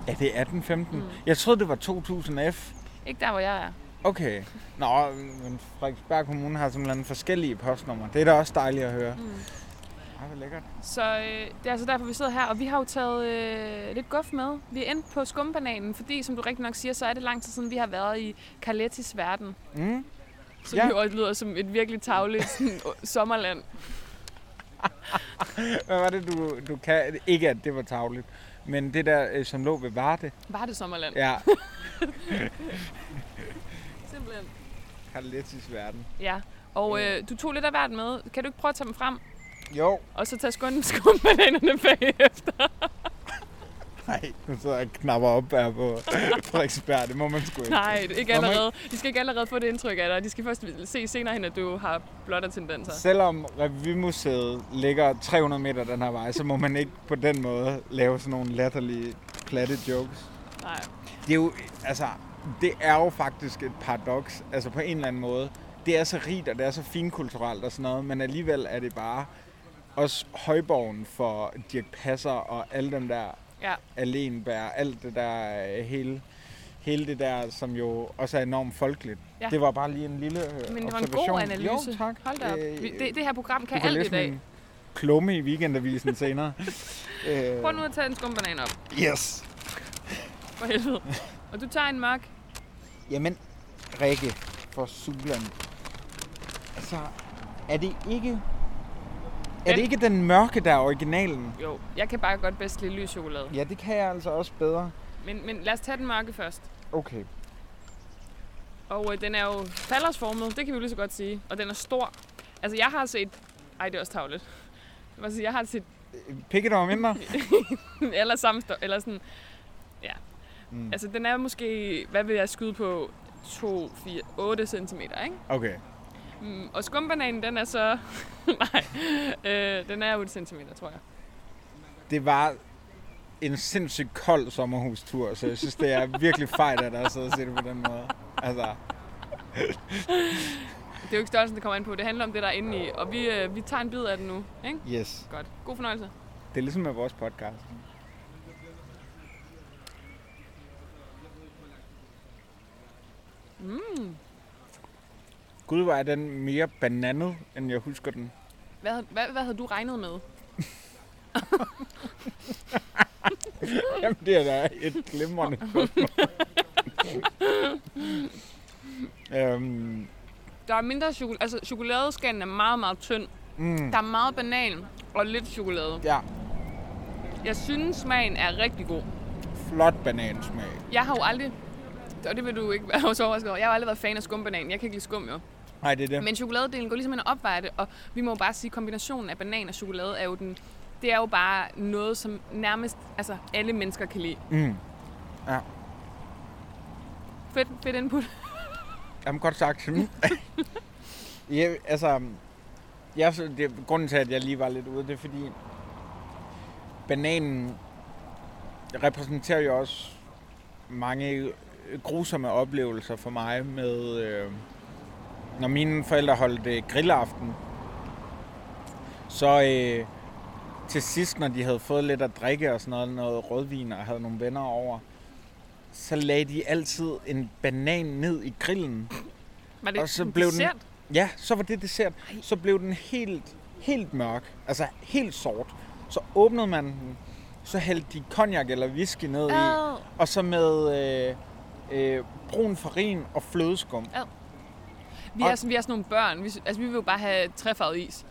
Speaker 1: Ja, det er 1815. Mm. Jeg troede, det var 2000 F.
Speaker 2: Ikke der, hvor jeg er.
Speaker 1: Okay. Nå, men Frederiksberg Kommune har simpelthen forskellige postnumre. Det er da også dejligt at høre. Mm. Ej, hvor lækkert.
Speaker 2: Så øh, det er altså derfor, vi sidder her, og vi har jo taget øh, lidt guf med. Vi er endt på skumbananen, fordi som du rigtig nok siger, så er det lang tid siden, vi har været i Carlettis verden.
Speaker 1: Mm.
Speaker 2: Som
Speaker 1: Ja.
Speaker 2: ja. jo også lyder som et virkelig tavligt sådan, øh, sommerland.
Speaker 1: Hvad var det, du, du kan? Ikke, at det var tavligt, men det der, øh, som lå ved Varde.
Speaker 2: Var det sommerland?
Speaker 1: Ja,
Speaker 2: Simpelthen.
Speaker 1: Carlettis verden.
Speaker 2: Ja, og øh, du tog lidt af hvert med. Kan du ikke prøve at tage dem frem,
Speaker 1: Jo.
Speaker 2: og så tage skum- [laughs] skumbananerne bagefter?
Speaker 1: Nej, nu sidder jeg og knapper op her på [laughs] Frederiksberg. Det må man sgu ikke.
Speaker 2: Nej, det er ikke
Speaker 1: Nå, må
Speaker 2: allerede. De skal ikke allerede få det indtryk af dig. De skal først se senere hen, at du har blotter tendenser.
Speaker 1: Selvom Revymuseet ligger 300 meter den her vej, så må man ikke på den måde lave sådan nogle latterlige, platte jokes.
Speaker 2: Nej.
Speaker 1: det er jo, altså, det er jo faktisk et paradoks, altså på en eller anden måde. Det er så rigt, og det er så finkulturelt og sådan noget, men alligevel er det bare også højborgen for Dirk Passer og alle dem der
Speaker 2: Ja.
Speaker 1: Alenbær, alt det der øh, hele, hele det der, som jo også er enormt folkeligt. Ja.
Speaker 2: Ja.
Speaker 1: Det var bare lige en lille øh,
Speaker 2: Men det var en
Speaker 1: observation.
Speaker 2: god analyse.
Speaker 1: Jo, tak.
Speaker 2: Hold da op.
Speaker 1: Øh,
Speaker 2: Vi- Det, det her program
Speaker 1: du
Speaker 2: kan alt i
Speaker 1: læse
Speaker 2: dag.
Speaker 1: min klumme i weekendavisen senere. øh,
Speaker 2: Prøv nu at tage en skumbanan op.
Speaker 1: yes.
Speaker 2: For helvede. Og du tager en mørk.
Speaker 1: Jamen, Rikke for Sulan. Altså, er det ikke... Er det
Speaker 2: Den-
Speaker 1: ikke den mørke, der er originalen?
Speaker 2: Jo, jeg kan bare godt bedst lide lys chokolade.
Speaker 1: Ja, det kan jeg altså også bedre.
Speaker 2: Men, men lad os tage den mørke først.
Speaker 1: Okay.
Speaker 2: Og øh, den er jo faldersformet, det kan vi jo lige så godt sige. Og den er stor. Altså, jeg har set... Ej, det er også tavlet. Jeg vil sige, Jeg har set
Speaker 1: Pikke dig mindre?
Speaker 2: [laughs] eller samme stå- eller sådan, ja. Mm. Altså, den er måske, hvad vil jeg skyde på, 2, 4, 8 cm, ikke?
Speaker 1: Okay.
Speaker 2: Mm, og skumbananen, den er så... [laughs] nej, øh, den er 8 cm, tror jeg.
Speaker 1: Det var en sindssygt kold sommerhustur, så jeg synes, det er virkelig fejl, at der er siddet og set det på den måde. Altså,
Speaker 2: Det er jo ikke størrelsen, det kommer an på. Det handler om det, der er inde i. Og vi, øh, vi tager en bid af den nu. Ikke?
Speaker 1: yes.
Speaker 2: Godt. God fornøjelse.
Speaker 1: Det er ligesom med vores podcast.
Speaker 2: Mm.
Speaker 1: Gud, var den mere bananet, end jeg husker den.
Speaker 2: Hvad, hvad, hvad havde du regnet med?
Speaker 1: Jamen, det er da et glimrende spørgsmål. øhm,
Speaker 2: Der er mindre chokolade. Altså, chokoladeskanden er meget, meget tynd.
Speaker 1: mm,
Speaker 2: Der er meget banan og lidt chokolade.
Speaker 1: ja,
Speaker 2: Jeg synes, smagen er rigtig god.
Speaker 1: flot banansmag.
Speaker 2: Jeg har jo aldrig... Og det vil du ikke være [laughs] så overrasket over. Jeg har jo aldrig været fan af skumbanan. Jeg kan ikke lide skum, jo.
Speaker 1: Nej, det er det.
Speaker 2: Men chokoladedelen går ligesom ind og opvejer det, og vi må jo bare sige, at kombinationen af banan og chokolade er jo den... Det er jo bare noget, som nærmest altså, alle mennesker kan lide.
Speaker 1: Mm. Ja.
Speaker 2: Fedt, fedt input.
Speaker 1: Jamen, godt sagt. ja, altså, jeg, synes- det, grunden til, at jeg lige var lidt ude, det er fordi, bananen repræsenterer jo også mange grusomme oplevelser for mig med, øh, når mine forældre holdt øh, grillaften, så øh, til sidst, når de havde fået lidt at drikke og sådan noget, noget rødvin og havde nogle venner over, så lagde de altid en banan ned i grillen.
Speaker 2: Var det
Speaker 1: Og så
Speaker 2: en
Speaker 1: blev den-
Speaker 2: dessert?
Speaker 1: Ja, så var det dessert. Så blev den helt, helt mørk. Altså helt sort. Så åbnede man den. Så hældte de cognac eller whisky ned i.
Speaker 2: Åh,
Speaker 1: Og så med øh, øh, brun farin og flødeskum.
Speaker 2: Vi er, vi er sådan nogle børn. Vi, sy- altså, vi vil jo bare have træfarvet is.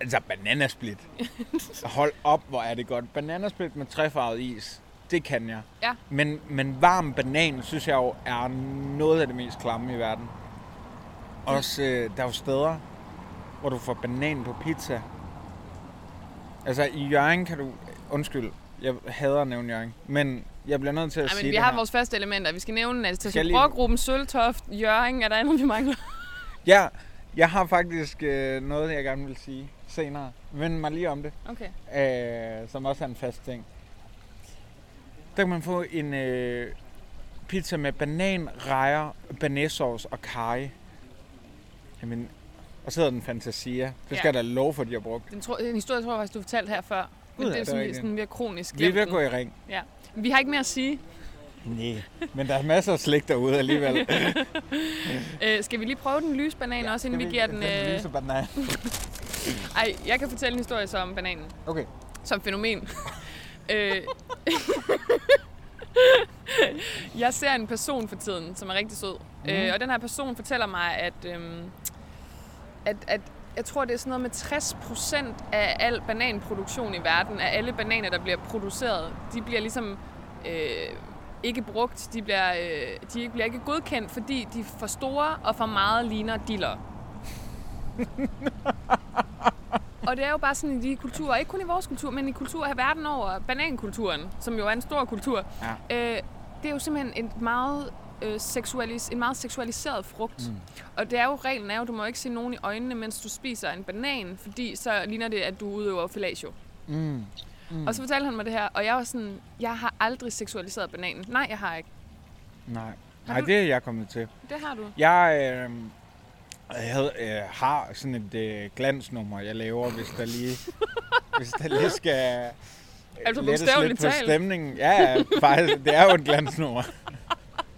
Speaker 1: Altså
Speaker 2: [laughs]
Speaker 1: bananasplit. Hold op, hvor er det godt. Bananasplit med træfarvet is. Det kan jeg.
Speaker 2: Ja.
Speaker 1: Men, men varm banan, synes jeg jo, er noget af det mest klamme i verden. Også, øh, der er jo steder, hvor du får banan på pizza. Altså i Jørgen kan du... Undskyld, jeg hader at nævne Jørgen. Men jeg bliver nødt til at
Speaker 2: Ej,
Speaker 1: sige
Speaker 2: men vi
Speaker 1: det
Speaker 2: har
Speaker 1: her.
Speaker 2: vores faste elementer. Vi skal nævne, at
Speaker 1: Skal jeg
Speaker 2: til
Speaker 1: lige-
Speaker 2: Brogruppen, Søltoft, Jørgen, er der andet, vi mangler?
Speaker 1: Ja, jeg har faktisk øh, noget, jeg gerne vil sige senere. Vend mig lige om det.
Speaker 2: Okay.
Speaker 1: øh, som også er en fast ting. Der kan man få en øh, pizza med banan, rejer, banæssauce og karry. Jamen, og så hedder den Fantasia. Det skal
Speaker 2: Ja.
Speaker 1: ja. der love for, de har brugt.
Speaker 2: Den, tro, den historie tror jeg faktisk, du fortalte her før. Men
Speaker 1: Gud,
Speaker 2: det
Speaker 1: ja, det
Speaker 2: er
Speaker 1: er
Speaker 2: sådan, vi-
Speaker 1: rigtigt.
Speaker 2: sådan, vi er kronisk
Speaker 1: Vi er ved at
Speaker 2: glemt
Speaker 1: gå
Speaker 2: den.
Speaker 1: i ring.
Speaker 2: Ja. Vi har ikke mere at sige.
Speaker 1: Nej. Men der er masser af slik derude alligevel.
Speaker 2: Øh, skal vi lige prøve den lyse banan ja, også, inden [laughs] vi,
Speaker 1: Skal
Speaker 2: giver den...
Speaker 1: Den
Speaker 2: Øh...
Speaker 1: lyse banan.
Speaker 2: Ej, jeg kan fortælle en historie så om bananen.
Speaker 1: Okay.
Speaker 2: Som fænomen. øh... [laughs] jeg ser en person for tiden, som er rigtig sød. Mm. Øh, og den her person fortæller mig, at, øhm, at, at jeg tror, det er sådan noget med 60% af al bananproduktion i verden, af alle bananer, der bliver produceret, de bliver ligesom øh, ikke brugt, de bliver, øh, de bliver ikke godkendt, fordi de er for store og for meget ligner diller. [laughs] Og det er jo bare sådan i de kulturer, ikke kun i vores kultur, men i kulturer her verden over, banankulturen, som jo er en stor kultur, ja. øh, det er jo simpelthen en meget, øh, seksualis- en meget seksualiseret frugt. Mm. Og det er jo reglen er jo, du må ikke se nogen i øjnene, mens du spiser en banan, fordi så ligner det, at du udøver fellatio.
Speaker 1: Mm.
Speaker 2: Mm. Og så fortalte han mig det her, og jeg var sådan, jeg har aldrig seksualiseret bananen. Nej, jeg har ikke.
Speaker 1: Nej.
Speaker 2: Har
Speaker 1: Nej,
Speaker 2: du-
Speaker 1: det er jeg kommet til.
Speaker 2: Det har du.
Speaker 1: Jeg øh, havde, øh, har sådan et øh, glansnummer, jeg laver, hvis der lige,
Speaker 2: [laughs]
Speaker 1: hvis der lige skal øh,
Speaker 2: Altså
Speaker 1: lettes
Speaker 2: bogstaveligt
Speaker 1: på
Speaker 2: talt.
Speaker 1: stemningen. Ja, ja, faktisk, det er jo et glansnummer.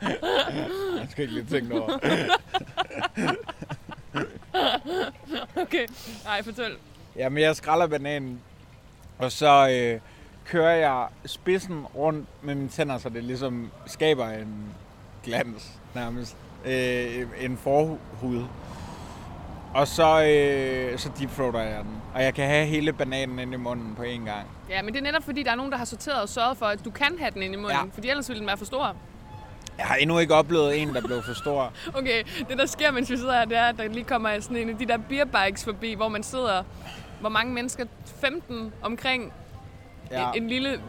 Speaker 1: jeg skal ikke lige tænke over.
Speaker 2: [laughs] Okay. Nej, fortæl.
Speaker 1: Jamen, jeg skræller bananen, og så øh, kører jeg spidsen rundt med mine tænder, så det ligesom skaber en glans nærmest. Øh, en forhud. Og så, øh, så deepfroater jeg den. Og jeg kan have hele bananen ind i munden på én gang.
Speaker 2: Ja, men det er netop fordi, der er nogen, der har sorteret og sørget for, at du kan have den inde i munden,
Speaker 1: Ja.
Speaker 2: ja. fordi ellers ville den være for stor.
Speaker 1: Jeg har endnu ikke oplevet en, der blev for stor.
Speaker 2: Okay, det der sker, mens vi sidder her, det er, at der lige kommer sådan en af de der beerbikes forbi, hvor man sidder, hvor mange mennesker, 15 omkring ja.
Speaker 1: Ja.
Speaker 2: [laughs] en, en lille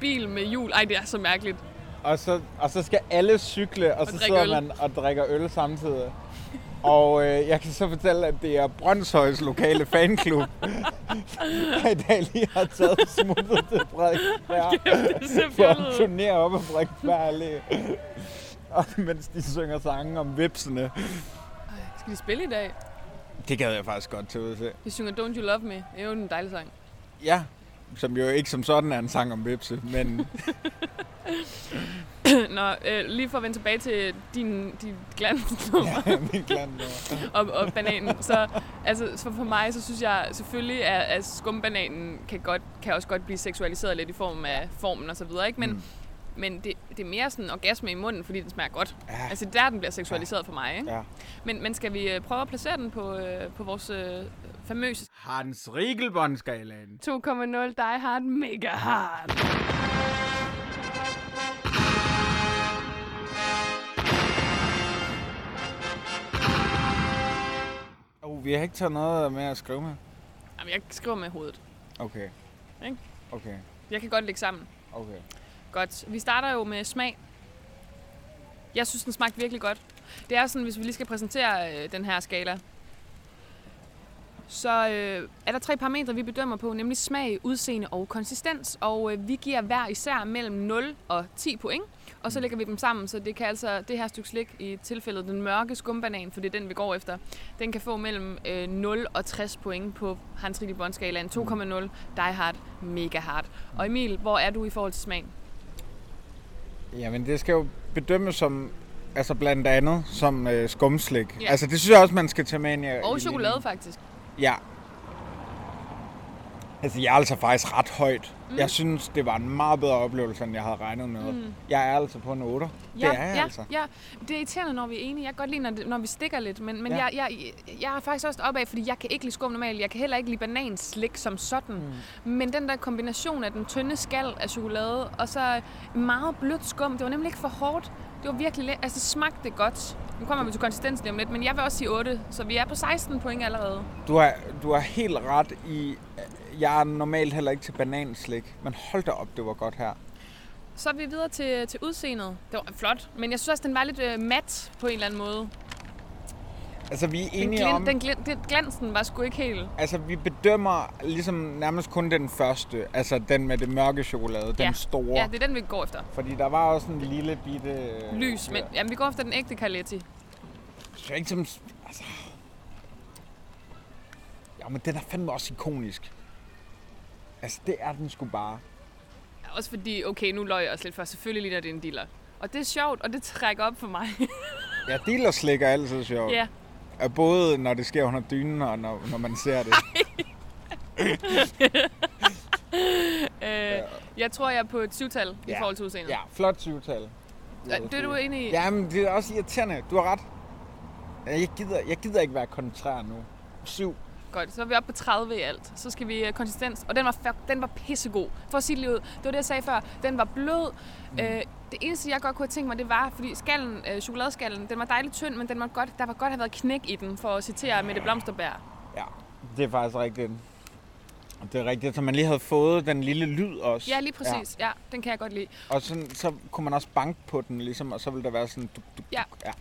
Speaker 2: bil med hjul. Ej, det er så mærkeligt. [laughs]
Speaker 1: Og så, og så skal alle cykle, og, og så
Speaker 2: drikke
Speaker 1: sidder
Speaker 2: øl.
Speaker 1: man og drikker øl samtidig. Og øh, jeg kan så fortælle, at det er Brøndshøjs lokale fanklub, der i dag lige har taget smuttet til Frederiksberg
Speaker 2: det er så
Speaker 1: for at
Speaker 2: fjollet.
Speaker 1: turnere op ad Frederiksberg Allé. Og mens de synger sange om vipsene.
Speaker 2: Skal de spille i dag?
Speaker 1: Det gad jeg faktisk godt til at se.
Speaker 2: De synger Don't You Love Me. Det er jo en dejlig sang. [clears throat]
Speaker 1: Ja, som jo ikke som sådan er en sang om vipse,
Speaker 2: [laughs]
Speaker 1: men
Speaker 2: Nå, øh, lige for at vende tilbage til din, din glansnummer.
Speaker 1: ja, min klan nummer.
Speaker 2: og, og bananen. Så altså, så for mig, så synes jeg selvfølgelig, at, at skumbananen kan, godt, kan også godt blive seksualiseret lidt i form af formen og så videre, ikke? Men, mm. men det, det er mere sådan en orgasme i munden, fordi den smager godt.
Speaker 1: Ja.
Speaker 2: Altså der den bliver seksualiseret for mig, ikke?
Speaker 1: Ja.
Speaker 2: Men, men skal vi øh, prøve at placere den på, øh, på vores øh, famøse
Speaker 1: Hans Riegelbåndskalaen.
Speaker 2: 2.0 Die Hard Mega Hard?
Speaker 1: Oh, vi har ikke taget noget med at skrive med.
Speaker 2: Jamen, jeg skriver med hovedet.
Speaker 1: Okay.
Speaker 2: Ikke?
Speaker 1: Okay,
Speaker 2: Jeg kan godt lægge sammen.
Speaker 1: okay.
Speaker 2: Godt. Vi starter jo med smag. Jeg synes, den smagte virkelig godt. Det er sådan, hvis vi lige skal præsentere øh, den her skala, så øh, er der tre parametre, vi bedømmer på, nemlig smag, udseende og konsistens. Og øh, vi giver hver især mellem 0 og 10 point, og så lægger vi dem sammen, så det kan altså det her stykke slik, i tilfældet den mørke skumbanan, for det er den, vi går efter, den kan få mellem øh, 0 og 60 point på Hans Rigtige Båndskalaen 2,0, Die Hard, Mega Hard. Og Emil, hvor er du i forhold til smagen?
Speaker 1: Jamen, det skal jo bedømmes som, altså blandt andet, som øh, skumslik.
Speaker 2: Ja.
Speaker 1: Altså, det synes jeg også, man skal tage med ind i... i
Speaker 2: Og
Speaker 1: ligningen.
Speaker 2: chokolade faktisk.
Speaker 1: Ja. Altså, jeg er altså faktisk ret højt. Mm. Jeg synes, det var en meget bedre oplevelse, end jeg havde regnet med. Mm. Jeg er altså på en 8. det er jeg
Speaker 2: ja,
Speaker 1: altså.
Speaker 2: ja. Det er irriterende, når vi er enige. Jeg kan godt lide, når, det, når vi stikker lidt, men, men
Speaker 1: Ja.
Speaker 2: ja. jeg, jeg, jeg er faktisk også opad, fordi jeg kan ikke lide skum normalt. Jeg kan heller ikke lide bananslik som sådan. Mm. Men den der kombination af den tynde skal af chokolade, og så meget blødt skum, det var nemlig ikke for hårdt. Det var virkelig let. Altså, det smagte godt. Nu kommer vi til konsistensen lige om lidt, men jeg vil også sige 8, så vi er på 16 point allerede.
Speaker 1: Du har, du har helt ret i... Jeg er normalt heller ikke til bananslik, men hold da op, det var godt her.
Speaker 2: Så er vi videre til, til udseendet. Det var flot, men jeg synes også, den var lidt øh, mat på en eller anden måde.
Speaker 1: Altså, vi er
Speaker 2: Den,
Speaker 1: enige
Speaker 2: glin,
Speaker 1: om...
Speaker 2: den, glin, den glansen var sgu ikke helt...
Speaker 1: Altså, vi bedømmer ligesom nærmest kun den første. Altså, den med det mørke chokolade. Den store.
Speaker 2: Ja, det er den, vi går efter.
Speaker 1: Fordi der var også en lille bitte... øh,
Speaker 2: Lys, men jamen, vi går efter den ægte Carletti.
Speaker 1: Det er ikke som... Altså... Ja, men den er fandme også ikonisk. Altså, det er den sgu bare.
Speaker 2: Også fordi, okay, nu løg jeg også lidt for, selvfølgelig ligner det en dealer. Og det er sjovt, og det trækker op for [laughs] mig.
Speaker 1: Ja, dealer slikker altid sjovt.
Speaker 2: ja.
Speaker 1: Og Både når det sker under dynen, og når, når man ser
Speaker 2: [laughs]
Speaker 1: det.
Speaker 2: Øh, jeg tror, jeg er på et syvtal i
Speaker 1: Ja.
Speaker 2: forhold til udseendet.
Speaker 1: Ja, flot syvtal.
Speaker 2: Øh, Det er du enig i?
Speaker 1: Ja, men det er også irriterende. Du har ret. Ja, Jeg gider, jeg gider ikke være kontrær nu. Syv.
Speaker 2: Godt, så er vi oppe på 30 i alt. Så skal vi øh, konsistens, og den var, fa- den var pissegod. For at sige det lige ud, det var det, jeg sagde før. Den var blød. Mm. Øh, det eneste, jeg godt kunne have tænkt mig, det var, fordi skallen, øh, chokoladeskallen, den var dejligt tynd, men den var godt, der var godt have været knæk i den, for at citere Mette Blomsterbær.
Speaker 1: Ja, det er faktisk rigtigt. Det er rigtigt, så man lige havde fået den lille lyd også.
Speaker 2: Ja, lige præcis. Ja. ja, den kan jeg godt lide.
Speaker 1: Og sådan, så kunne man også banke på den, ligesom, og så ville der være sådan... Du, du,
Speaker 2: Ja.
Speaker 1: ja.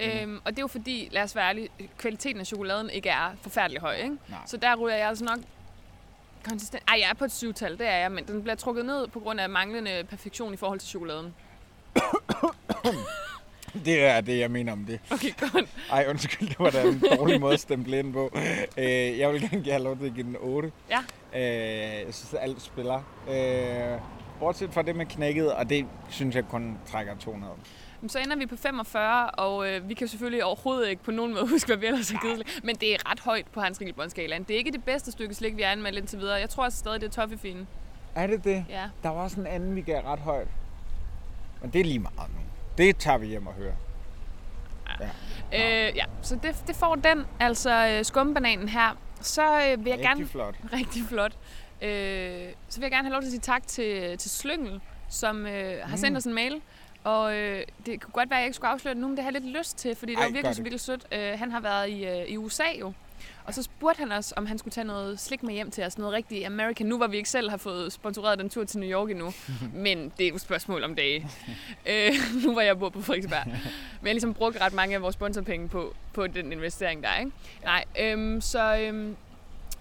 Speaker 2: Øhm, og det er jo fordi, lad os være ærlige, kvaliteten af chokoladen ikke er forfærdelig høj. Ikke?
Speaker 1: Nej.
Speaker 2: Så der ryger jeg altså nok konsistent. Ej, jeg er på et syvtal, det er jeg, men den bliver trukket ned på grund af manglende perfektion i forhold til chokoladen.
Speaker 1: Det er det, jeg mener om det.
Speaker 2: [laughs] Okay, godt.
Speaker 1: Ej, undskyld, det var da en dårlig måde at stemple ind på. Øh, jeg vil gerne give lov til at give den 8.
Speaker 2: Ja.
Speaker 1: Øh, jeg synes, alt spiller. Øh, bortset fra det med knækket, og det synes jeg kun trækker 200.
Speaker 2: Men Så ender vi på 45, og øh, vi kan selvfølgelig overhovedet ikke på nogen måde huske, hvad vi ellers har givet. slik. Men det er ret højt på Hans Ringelbåndsskalaen. Det er ikke det bedste stykke slik, vi har anmeldt indtil videre. Jeg tror altså stadig, det er toffefine.
Speaker 1: Er det det?
Speaker 2: Ja.
Speaker 1: Der var også en anden, vi gav ret højt. Men det er lige meget nu. Det tager vi hjem og hører.
Speaker 2: Øh, ja, så det, det får den, altså øh, skumbananen her. Så øh, vil jeg
Speaker 1: Rigtig
Speaker 2: gerne...
Speaker 1: flot.
Speaker 2: [laughs] Rigtig flot. Øh, så vil jeg gerne have lov til at sige tak til, til Slyngel, som øh, har
Speaker 1: Mm.
Speaker 2: sendt os en mail. Og øh, det kunne godt være, at jeg ikke skulle afsløre det nu, men det har jeg lidt lyst til, fordi det
Speaker 1: Ej,
Speaker 2: var
Speaker 1: gør
Speaker 2: virkelig,
Speaker 1: det.
Speaker 2: virkelig sødt. Øh, han har været i, øh, i USA jo, Og så spurgte han os, om han skulle tage noget slik med hjem til os. Noget rigtig American. Nu var vi ikke selv har fået sponsoreret den tur til New
Speaker 1: [laughs]
Speaker 2: York endnu. Men det er jo et spørgsmål om dage. øh, [laughs] nu var jeg bor på Frederiksberg. Men jeg har ligesom brugt ret mange af vores sponsorpenge på, på den investering der, ikke? Nej, øhm, så, øhm,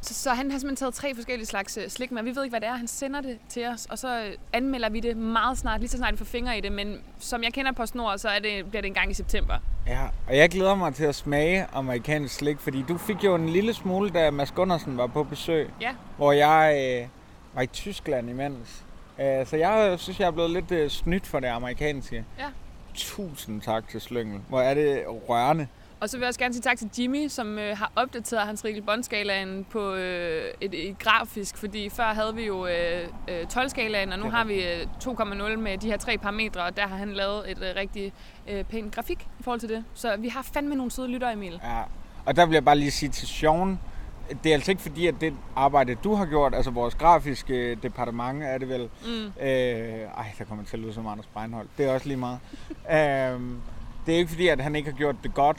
Speaker 2: så, så han har simpelthen taget tre forskellige slags øh, slik med, og vi ved ikke, hvad det er. Han sender det til os, og så øh, anmelder vi det meget snart, lige så snart vi får fingre i det. Men som jeg kender på snor, så er det, bliver det en gang i september.
Speaker 1: Ja, og jeg glæder mig til at smage amerikansk slik, fordi du fik jo en lille smule, da Mads Gundersen var på besøg,
Speaker 2: Ja,
Speaker 1: hvor jeg øh, var i Tyskland imens. Øh, så jeg øh, synes, jeg er blevet lidt øh, snydt for det amerikanske.
Speaker 2: Ja.
Speaker 1: Tusind tak til Slyngel. Hvor er det rørende.
Speaker 2: og så vil jeg også gerne sige tak til Jimmy, som øh, har opdateret hans Rikkel Bond-skalaen på øh, et, et grafisk, fordi før havde vi jo øh, øh, 12-skalaen, og nu
Speaker 1: Ja.
Speaker 2: har vi øh, 2,0 med de her tre parametre, og der har han lavet et øh, rigtig øh, pænt grafik i forhold til det. Så vi har fandme nogle søde lytter, Emil.
Speaker 1: Ja. Og der vil jeg bare lige sige til Sean, det er altså ikke fordi, at det arbejde, du har gjort, altså vores grafiske departement er det vel,
Speaker 2: Mm.
Speaker 1: Øh, ej, der kommer jeg til at lyde som Anders Breinholt. Det er også lige meget. [laughs] øh, det er ikke fordi, at han ikke har gjort det godt,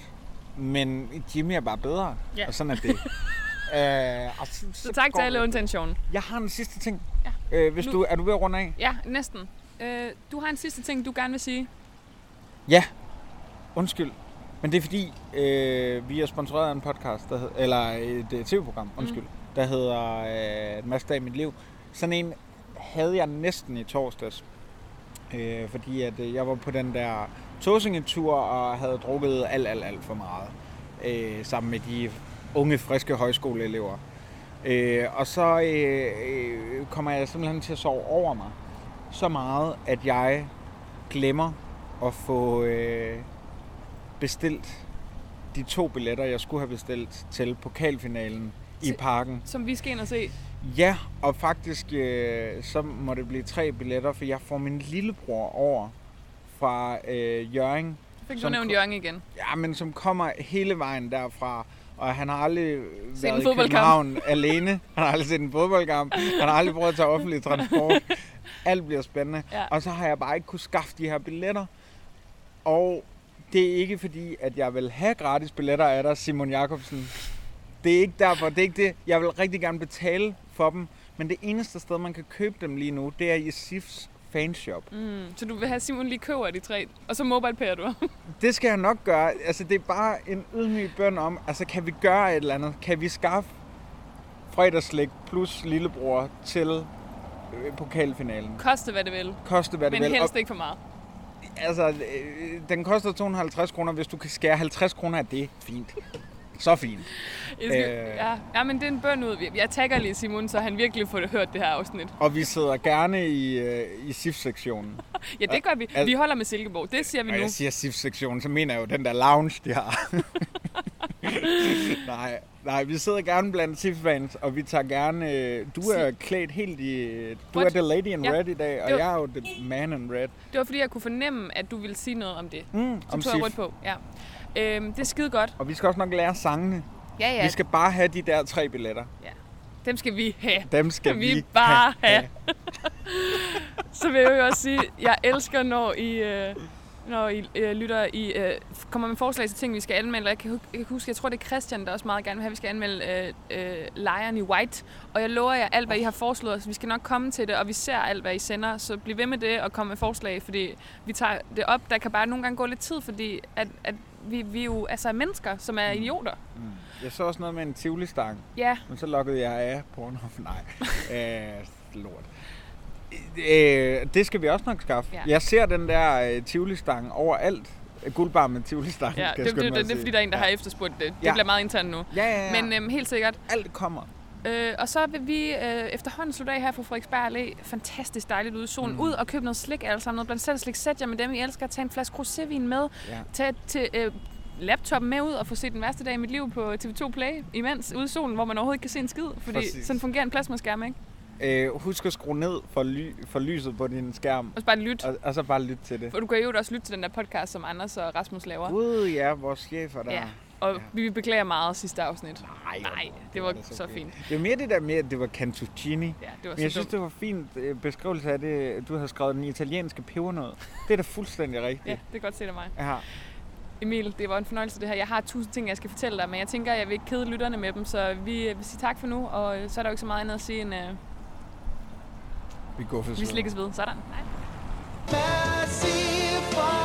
Speaker 1: men Jimmy er bare bedre.
Speaker 2: Ja.
Speaker 1: Og sådan
Speaker 2: [laughs]
Speaker 1: er det. øh, og så,
Speaker 2: Så tak
Speaker 1: går
Speaker 2: til alle
Speaker 1: det.
Speaker 2: intentionen.
Speaker 1: Jeg har en sidste ting. Ja. Øh, hvis
Speaker 2: Nu-
Speaker 1: du, er du ved at runde af?
Speaker 2: Ja, næsten. Øh, du har en sidste ting, du gerne vil sige.
Speaker 1: Ja. Undskyld. Men det er fordi, øh, vi er sponsoreret af en podcast, der hed, eller et øh, tv-program, undskyld, mm. der hedder øh, Mads dag i mit liv. Sådan en havde jeg næsten i torsdags, øh, fordi at, øh, jeg var på den der Tåsingetur og havde drukket alt, alt, alt for meget øh, sammen med de unge, friske højskoleelever. Øh, og så øh, øh, kommer jeg simpelthen til at sove over mig så meget, at jeg glemmer at få øh, bestilt de to billetter, jeg skulle have bestilt til pokalfinalen i
Speaker 2: Til-
Speaker 1: parken.
Speaker 2: Som vi skal ind og se.
Speaker 1: Ja, og faktisk øh, så må det blive tre billetter, for jeg får min lillebror over fra øh, Jørgen,
Speaker 2: Fik du
Speaker 1: Som
Speaker 2: nævnt
Speaker 1: ko-
Speaker 2: Jørgen igen.
Speaker 1: ja, men som kommer hele vejen derfra. Og han har aldrig
Speaker 2: Set en
Speaker 1: været i
Speaker 2: fodboldkamp.
Speaker 1: København alene. Han har aldrig set en fodboldkamp. Han har aldrig prøvet at tage offentlig transport. Alt bliver spændende.
Speaker 2: Ja.
Speaker 1: Og så har jeg bare ikke kunne skaffe de her billetter. Og det er ikke fordi, at jeg vil have gratis billetter af dig, Simon Jakobsen. Det er ikke derfor. Det er ikke det. Jeg vil rigtig gerne betale for dem. Men det eneste sted, man kan købe dem lige nu, det er i SIFs fanshop.
Speaker 2: Mm. Så du vil have Simon lige køber de tre, og så mobile du. [laughs]
Speaker 1: Det skal jeg nok gøre. Altså, det er bare en ydmyg bøn om, altså, kan vi gøre et eller andet? Kan vi skaffe fredagslæg plus lillebror til øh, pokalfinalen?
Speaker 2: Koste hvad det vil,
Speaker 1: Koste hvad det
Speaker 2: men
Speaker 1: vil.
Speaker 2: helst ikke for meget.
Speaker 1: Og, altså, øh, den koster 250 kroner. Hvis du kan skære 50 kroner af det, fint. Så fint.
Speaker 2: Jeg skal,
Speaker 1: Øh.
Speaker 2: øh... ja. ja, men det er en bøn ud. Jeg tagger lige Simon, så han virkelig får hørt det her afsnit.
Speaker 1: Og vi sidder gerne i, øh, i SIF-sektionen.
Speaker 2: Ja, det gør vi.
Speaker 1: al-
Speaker 2: Vi holder med Silkeborg. Det siger vi
Speaker 1: Når
Speaker 2: nu.
Speaker 1: jeg siger SIF-sektionen, så mener jeg jo den der lounge, de har. [laughs] nej, nej, vi sidder gerne blandt SIF-fans, og vi tager gerne... øh, Du er klædt helt i... Du
Speaker 2: Rødt.
Speaker 1: er the lady in
Speaker 2: Ja.
Speaker 1: red i dag, og
Speaker 2: Det var-
Speaker 1: jeg er jo the man in red.
Speaker 2: Det var fordi, jeg kunne fornemme, at du ville sige noget om det.
Speaker 1: Mm,
Speaker 2: Så tog jeg rødt på. Ja. Øhm, det er skide godt.
Speaker 1: Og vi skal også nok lære sangene.
Speaker 2: Ja, ja.
Speaker 1: Vi skal bare have de der tre billetter.
Speaker 2: Dem skal vi have.
Speaker 1: Dem skal
Speaker 2: vi,
Speaker 1: vi,
Speaker 2: bare have. så vil jeg jo også sige, jeg elsker, når I, øh, når I øh, lytter, I øh, kommer med forslag til ting, vi skal anmelde. Og Jeg kan, hu- jeg kan huske, jeg tror, det er Christian, der også meget gerne vil have, at vi skal anmelde øh, øh, Lion i White. Og jeg lover jer alt, hvad I har foreslået os. Vi skal nok komme til det, og vi ser alt, hvad I sender. Så bliv ved med det og kom med forslag, fordi vi tager det op. Der kan bare nogle gange gå lidt tid, fordi at, at vi, vi er jo altså er mennesker, som er
Speaker 1: Mm.
Speaker 2: idioter.
Speaker 1: Jeg så også noget med en tivoli-stang.
Speaker 2: Ja,
Speaker 1: Men så lukkede jeg af Pornhub. [laughs] Nej. øh, lort. Øh, det skal vi også nok skaffe.
Speaker 2: Ja.
Speaker 1: Ja. Jeg ser den der øh, tivoli-stang overalt. Øh, Guldbar med tivoli-stang.
Speaker 2: ja
Speaker 1: kan jeg
Speaker 2: det,
Speaker 1: skynde
Speaker 2: det,
Speaker 1: mig
Speaker 2: det,
Speaker 1: at
Speaker 2: det er
Speaker 1: sige.
Speaker 2: fordi, der er en, der
Speaker 1: ja.
Speaker 2: har efterspurgt det. Det
Speaker 1: Ja.
Speaker 2: bliver meget internt nu.
Speaker 1: Ja, ja, ja.
Speaker 2: Men øhm, helt sikkert.
Speaker 1: alt kommer.
Speaker 2: Øh, og så vil vi øh, efterhånden slutte af her fra Frederiksberg Allé. Fantastisk dejligt ude i solen. Mm. Ud og køb noget slik alle sammen. Noget blandt selv slik. Sæt jer med dem, I elsker. Tag en flaske rosévin med.
Speaker 1: Ja.
Speaker 2: Tag til, øh, laptopen med ud og få set den værste dag i mit liv på TV2 Play. Imens ude i solen, hvor man overhovedet ikke kan se en skid. Fordi
Speaker 1: Præcis.
Speaker 2: sådan fungerer en plasmaskærm, ikke?
Speaker 1: Øh, husk at skrue ned for, ly- for lyset på din skærm,
Speaker 2: Og så bare lyt.
Speaker 1: og, og så bare lyt til det.
Speaker 2: For du kan jo også lytte til den der podcast, som Anders og Rasmus laver.
Speaker 1: Gud, ja, vores chefer der.
Speaker 2: ja. Og vi beklager meget sidste afsnit.
Speaker 1: Ej, hvor
Speaker 2: Nej,
Speaker 1: var
Speaker 2: det var så fint.
Speaker 1: Det var mere det der med, at det var cantuccini.
Speaker 2: Ja, det var
Speaker 1: Men jeg
Speaker 2: så
Speaker 1: synes,
Speaker 2: dumt.
Speaker 1: det var fint øh, beskrivelse af det, du havde skrevet den italienske pebernød. Det er da fuldstændig
Speaker 2: Ja,
Speaker 1: rigtigt.
Speaker 2: det er godt set af mig.
Speaker 1: Ja.
Speaker 2: Emil, det var en fornøjelse det her. Jeg har tusind ting, jeg skal fortælle dig, men jeg tænker, jeg vil ikke kede lytterne med dem, så vi øh, vil sige tak for nu, og øh, så er der jo ikke så meget andet at sige end, øh,
Speaker 1: Vi går for
Speaker 2: vi slikkes ved. Sådan. Hej.
Speaker 6: Mercy for